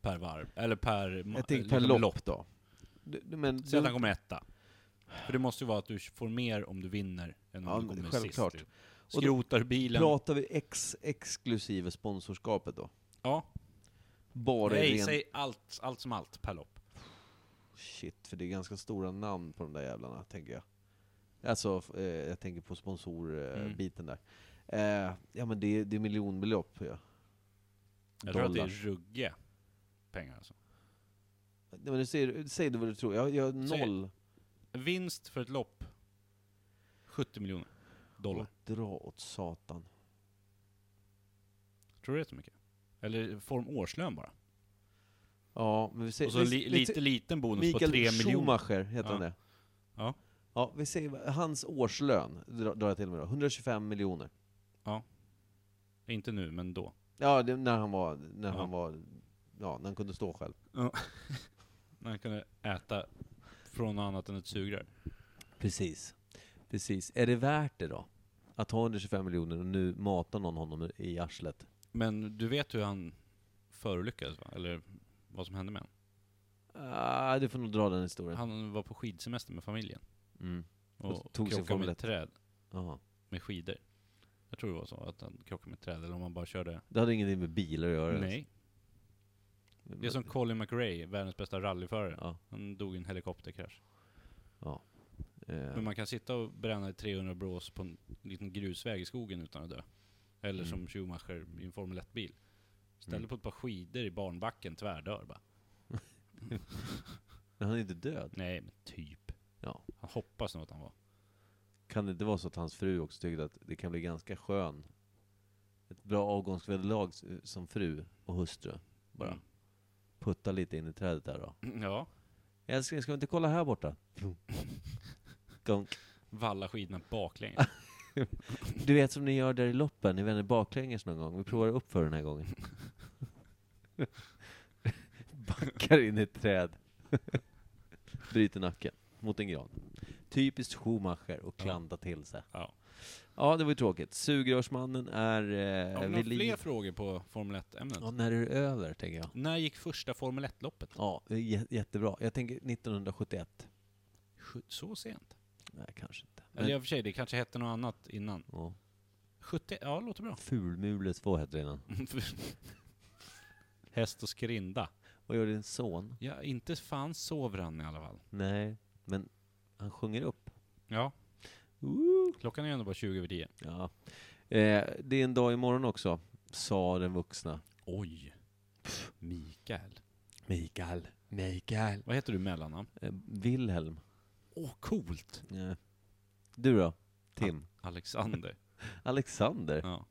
[SPEAKER 2] Per varv? Eller per... ma-
[SPEAKER 1] Jag tänker per
[SPEAKER 2] liksom
[SPEAKER 1] lopp, då. Du, du, men,
[SPEAKER 2] Säg att
[SPEAKER 1] du,
[SPEAKER 2] han kommer etta. För det måste ju vara att du får mer om du vinner än om
[SPEAKER 1] Ja,
[SPEAKER 2] du kommer
[SPEAKER 1] självklart.
[SPEAKER 2] sist. typ.
[SPEAKER 1] då-
[SPEAKER 2] Skrotar bilen.
[SPEAKER 1] pratar vi ex, exklusive sponsorskapet då?
[SPEAKER 2] Ja.
[SPEAKER 1] Bara i
[SPEAKER 2] Nej,
[SPEAKER 1] ren...
[SPEAKER 2] säg allt, allt som allt per lopp.
[SPEAKER 1] Shit, för det är ganska stora namn på de där jävlarna, tänker jag. Alltså, f- eh, jag tänker på
[SPEAKER 2] Mm.
[SPEAKER 1] sponsorbiten där. Eh, ja men det är, det är miljonbelopp. Ja.
[SPEAKER 2] Jag tror att det är
[SPEAKER 1] Dollar.
[SPEAKER 2] rugge pengar alltså.
[SPEAKER 1] Nej, men du säger, säg du vad du tror. Jag, jag har
[SPEAKER 2] Säg.
[SPEAKER 1] noll.
[SPEAKER 2] Vinst för ett lopp, 70 miljoner dollar.
[SPEAKER 1] Dra åt satan.
[SPEAKER 2] Tror du det är så mycket? Eller form årslön bara.
[SPEAKER 1] Ja, men vi säger...
[SPEAKER 2] Och så
[SPEAKER 1] vi,
[SPEAKER 2] en li,
[SPEAKER 1] vi
[SPEAKER 2] lite
[SPEAKER 1] säger-
[SPEAKER 2] liten bonus
[SPEAKER 1] Mikael
[SPEAKER 2] på 3 miljoner.
[SPEAKER 1] Schumacher heter han
[SPEAKER 2] Ja.
[SPEAKER 1] det.
[SPEAKER 2] Ja.
[SPEAKER 1] Ja, vi säger hans årslön, dra- drar jag till med då. 125 miljoner.
[SPEAKER 2] Inte nu, men då.
[SPEAKER 1] Ja, det, när han var, när
[SPEAKER 2] Ja.
[SPEAKER 1] han var, ja, när han kunde stå själv.
[SPEAKER 2] När han kunde äta från något annat än ett sugrör.
[SPEAKER 1] Precis. Precis. Är det värt det då? Att ha 125 miljoner och nu matar någon honom i arslet?
[SPEAKER 2] Men du vet hur han förolyckades va? Eller vad som hände med honom?
[SPEAKER 1] Ah, du får nog dra den historien.
[SPEAKER 2] Han var på skidsemester med familjen.
[SPEAKER 1] Mm.
[SPEAKER 2] Och,
[SPEAKER 1] Och tog sig
[SPEAKER 2] krockade
[SPEAKER 1] Formel
[SPEAKER 2] med ett
[SPEAKER 1] 1.
[SPEAKER 2] träd,
[SPEAKER 1] Aha.
[SPEAKER 2] med skidor. Jag tror det var så, att han krockade med ett träd. Eller om han bara körde...
[SPEAKER 1] Det hade ingenting med bilar att göra.
[SPEAKER 2] Nej. Det är som Colin McRae, världens bästa rallyförare.
[SPEAKER 1] Ja,
[SPEAKER 2] Han dog i en helikopterkrasch.
[SPEAKER 1] eh,
[SPEAKER 2] Men man kan sitta och bränna i 300 brås på en liten grusväg i skogen utan att dö. Eller
[SPEAKER 1] Mm.
[SPEAKER 2] som Schumacher i en Formel 1-bil. Ställer
[SPEAKER 1] Mm.
[SPEAKER 2] på ett par skidor i barnbacken, tvärdör bara.
[SPEAKER 1] men han är inte död.
[SPEAKER 2] Nej, men typ.
[SPEAKER 1] Ja.
[SPEAKER 2] Han hoppas nog att han var.
[SPEAKER 1] Kan det inte vara så att hans fru också tyckte att det kan bli ganska skön? Ett bra avgångsvederlag s- som fru och hustru. Bara putta lite in i trädet där då.
[SPEAKER 2] Mm. Ja.
[SPEAKER 1] Älskling, ska vi inte kolla här borta? Gonk.
[SPEAKER 2] Valla skidorna baklänges.
[SPEAKER 1] Du vet som ni gör där i loppen, ni vänder baklänges någon gång. Vi provar upp för den här gången. Backar in i ett träd. Bryter nacken mot en gran. Typiskt Schumacher och
[SPEAKER 2] Ja.
[SPEAKER 1] klanta till sig.
[SPEAKER 2] Ja.
[SPEAKER 1] Ja, det var ju tråkigt. Sugrörsmannen är eh,
[SPEAKER 2] Har vi några
[SPEAKER 1] vid liv.
[SPEAKER 2] fler frågor på Formel 1-ämnet?
[SPEAKER 1] Ja, när är det över, tänker jag.
[SPEAKER 2] När gick första Formel 1-loppet?
[SPEAKER 1] Ja, det är jä- jättebra. Jag tänker 1971.
[SPEAKER 2] Sju- Så sent?
[SPEAKER 1] Nej, kanske inte. Men,
[SPEAKER 2] Eller i och för sig, det kanske hette något annat innan.
[SPEAKER 1] ja.
[SPEAKER 2] 70, ja låter bra.
[SPEAKER 1] Fulmule 2 hette det innan.
[SPEAKER 2] Häst och skrinda.
[SPEAKER 1] Vad gör din son?
[SPEAKER 2] Ja, inte fan sover han i alla fall.
[SPEAKER 1] Nej, men han sjunger upp.
[SPEAKER 2] Ja,
[SPEAKER 1] Woo!
[SPEAKER 2] klockan är ändå bara 20 över 10.
[SPEAKER 1] Ja. Eh, det är en dag imorgon också, sa den vuxna.
[SPEAKER 2] Oj. Mikael.
[SPEAKER 1] Mikael. Mikael.
[SPEAKER 2] Vad heter du i mellannamn?
[SPEAKER 1] Eh, Wilhelm.
[SPEAKER 2] Åh, coolt!
[SPEAKER 1] Eh. Du då? Tim?
[SPEAKER 2] Alexander.
[SPEAKER 1] Alexander?
[SPEAKER 2] ja.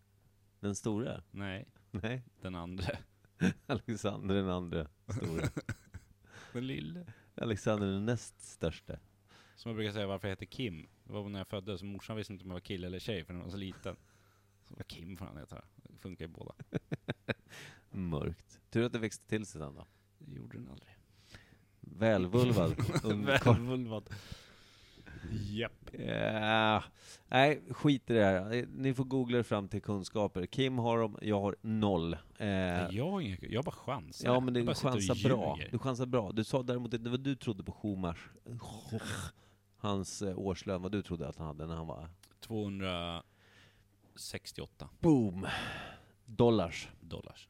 [SPEAKER 1] Den stora?
[SPEAKER 2] Nej,
[SPEAKER 1] Nej,
[SPEAKER 2] den andra.
[SPEAKER 1] Alexander den andra stora.
[SPEAKER 2] Den lille.
[SPEAKER 1] Alexander den näst största.
[SPEAKER 2] Som jag brukar säga varför jag heter Kim. Det var när jag föddes, morsan visste inte om jag var kille eller tjej för den var så liten. Så vad Kim får han heta. Det funkar ju båda.
[SPEAKER 1] Mörkt. Tur att det växte till sig sen då.
[SPEAKER 2] Det gjorde den aldrig.
[SPEAKER 1] Välvulvad. Ungkarl.
[SPEAKER 2] Välvulvad. Japp.
[SPEAKER 1] Eh, Nej, skit i det här. Eh, Ni får googla er fram till kunskaper. Kim har dem, jag har noll. Eh,
[SPEAKER 2] Nej, Jag har inga, jag bara chansar.
[SPEAKER 1] Ja men
[SPEAKER 2] Jag
[SPEAKER 1] du
[SPEAKER 2] bara sitter och
[SPEAKER 1] chansar bra.
[SPEAKER 2] ljuger.
[SPEAKER 1] Du chansar bra. Du sa däremot inte vad du trodde på Schumach. Hans eh, årslön, vad du trodde att han hade när han var...
[SPEAKER 2] 268
[SPEAKER 1] Boom! Dollars.
[SPEAKER 2] dollars.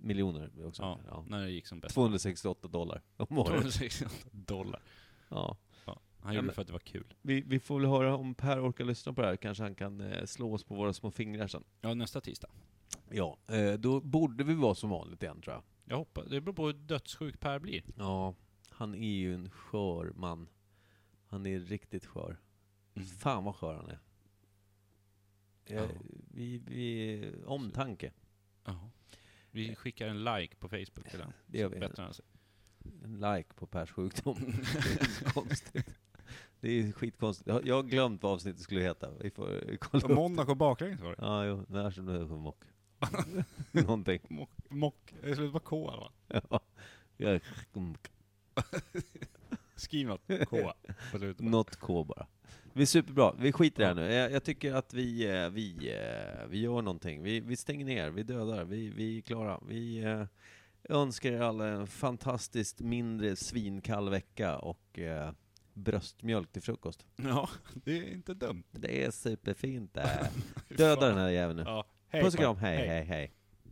[SPEAKER 1] Miljoner också.
[SPEAKER 2] Ja,
[SPEAKER 1] Ja.
[SPEAKER 2] när det gick som bäst.
[SPEAKER 1] 268 dollar om året.
[SPEAKER 2] 268 dollar.
[SPEAKER 1] Ja.
[SPEAKER 2] Han
[SPEAKER 1] Ja,
[SPEAKER 2] gjorde
[SPEAKER 1] men-
[SPEAKER 2] det för att det var kul.
[SPEAKER 1] Vi, vi får väl höra om Per orkar lyssna på det här. Kanske han kan eh, slå oss på våra små fingrar sen.
[SPEAKER 2] Ja, nästa tisdag.
[SPEAKER 1] Ja, eh, då borde vi vara som vanligt igen tror jag.
[SPEAKER 2] Jag hoppas. Det beror på hur dödssjuk Per blir.
[SPEAKER 1] Ja, han är ju en skör man. Han är riktigt skör.
[SPEAKER 2] Mm.
[SPEAKER 1] Fan vad skör han är. Jag,
[SPEAKER 2] Ja.
[SPEAKER 1] vi, vi, omtanke.
[SPEAKER 2] Ja. Vi skickar en like på Facebook till den.
[SPEAKER 1] Det gör vi.
[SPEAKER 2] Bättre än sig.
[SPEAKER 1] En like på Pers sjukdom. Det är så konstigt. Det är skitkonstigt. Jag har- Jag har glömt vad avsnittet skulle heta. Vi får kolla upp.
[SPEAKER 2] Monaco baklänges var det.
[SPEAKER 1] Ja, jo. När som nu mock. Någonting.
[SPEAKER 2] Mock. Mock. Det slutar på K va?
[SPEAKER 1] Ja. Jag är skumk.
[SPEAKER 2] Skriv något K på slutet.
[SPEAKER 1] Något K bara. Vi är superbra. Vi skiter i det här nu. Jag, jag tycker att vi, eh, vi, eh, vi gör någonting. Vi, vi stänger ner. Vi dödar. Vi, vi är klara. Vi eh, önskar er alla en fantastiskt mindre svinkall vecka och eh, bröstmjölk till frukost.
[SPEAKER 2] Ja, det är inte dumt.
[SPEAKER 1] Det är superfint det. Döda den här jäveln nu.
[SPEAKER 2] Ja, hej
[SPEAKER 1] Puss och
[SPEAKER 2] på er.
[SPEAKER 1] kram, hej, hej, hej.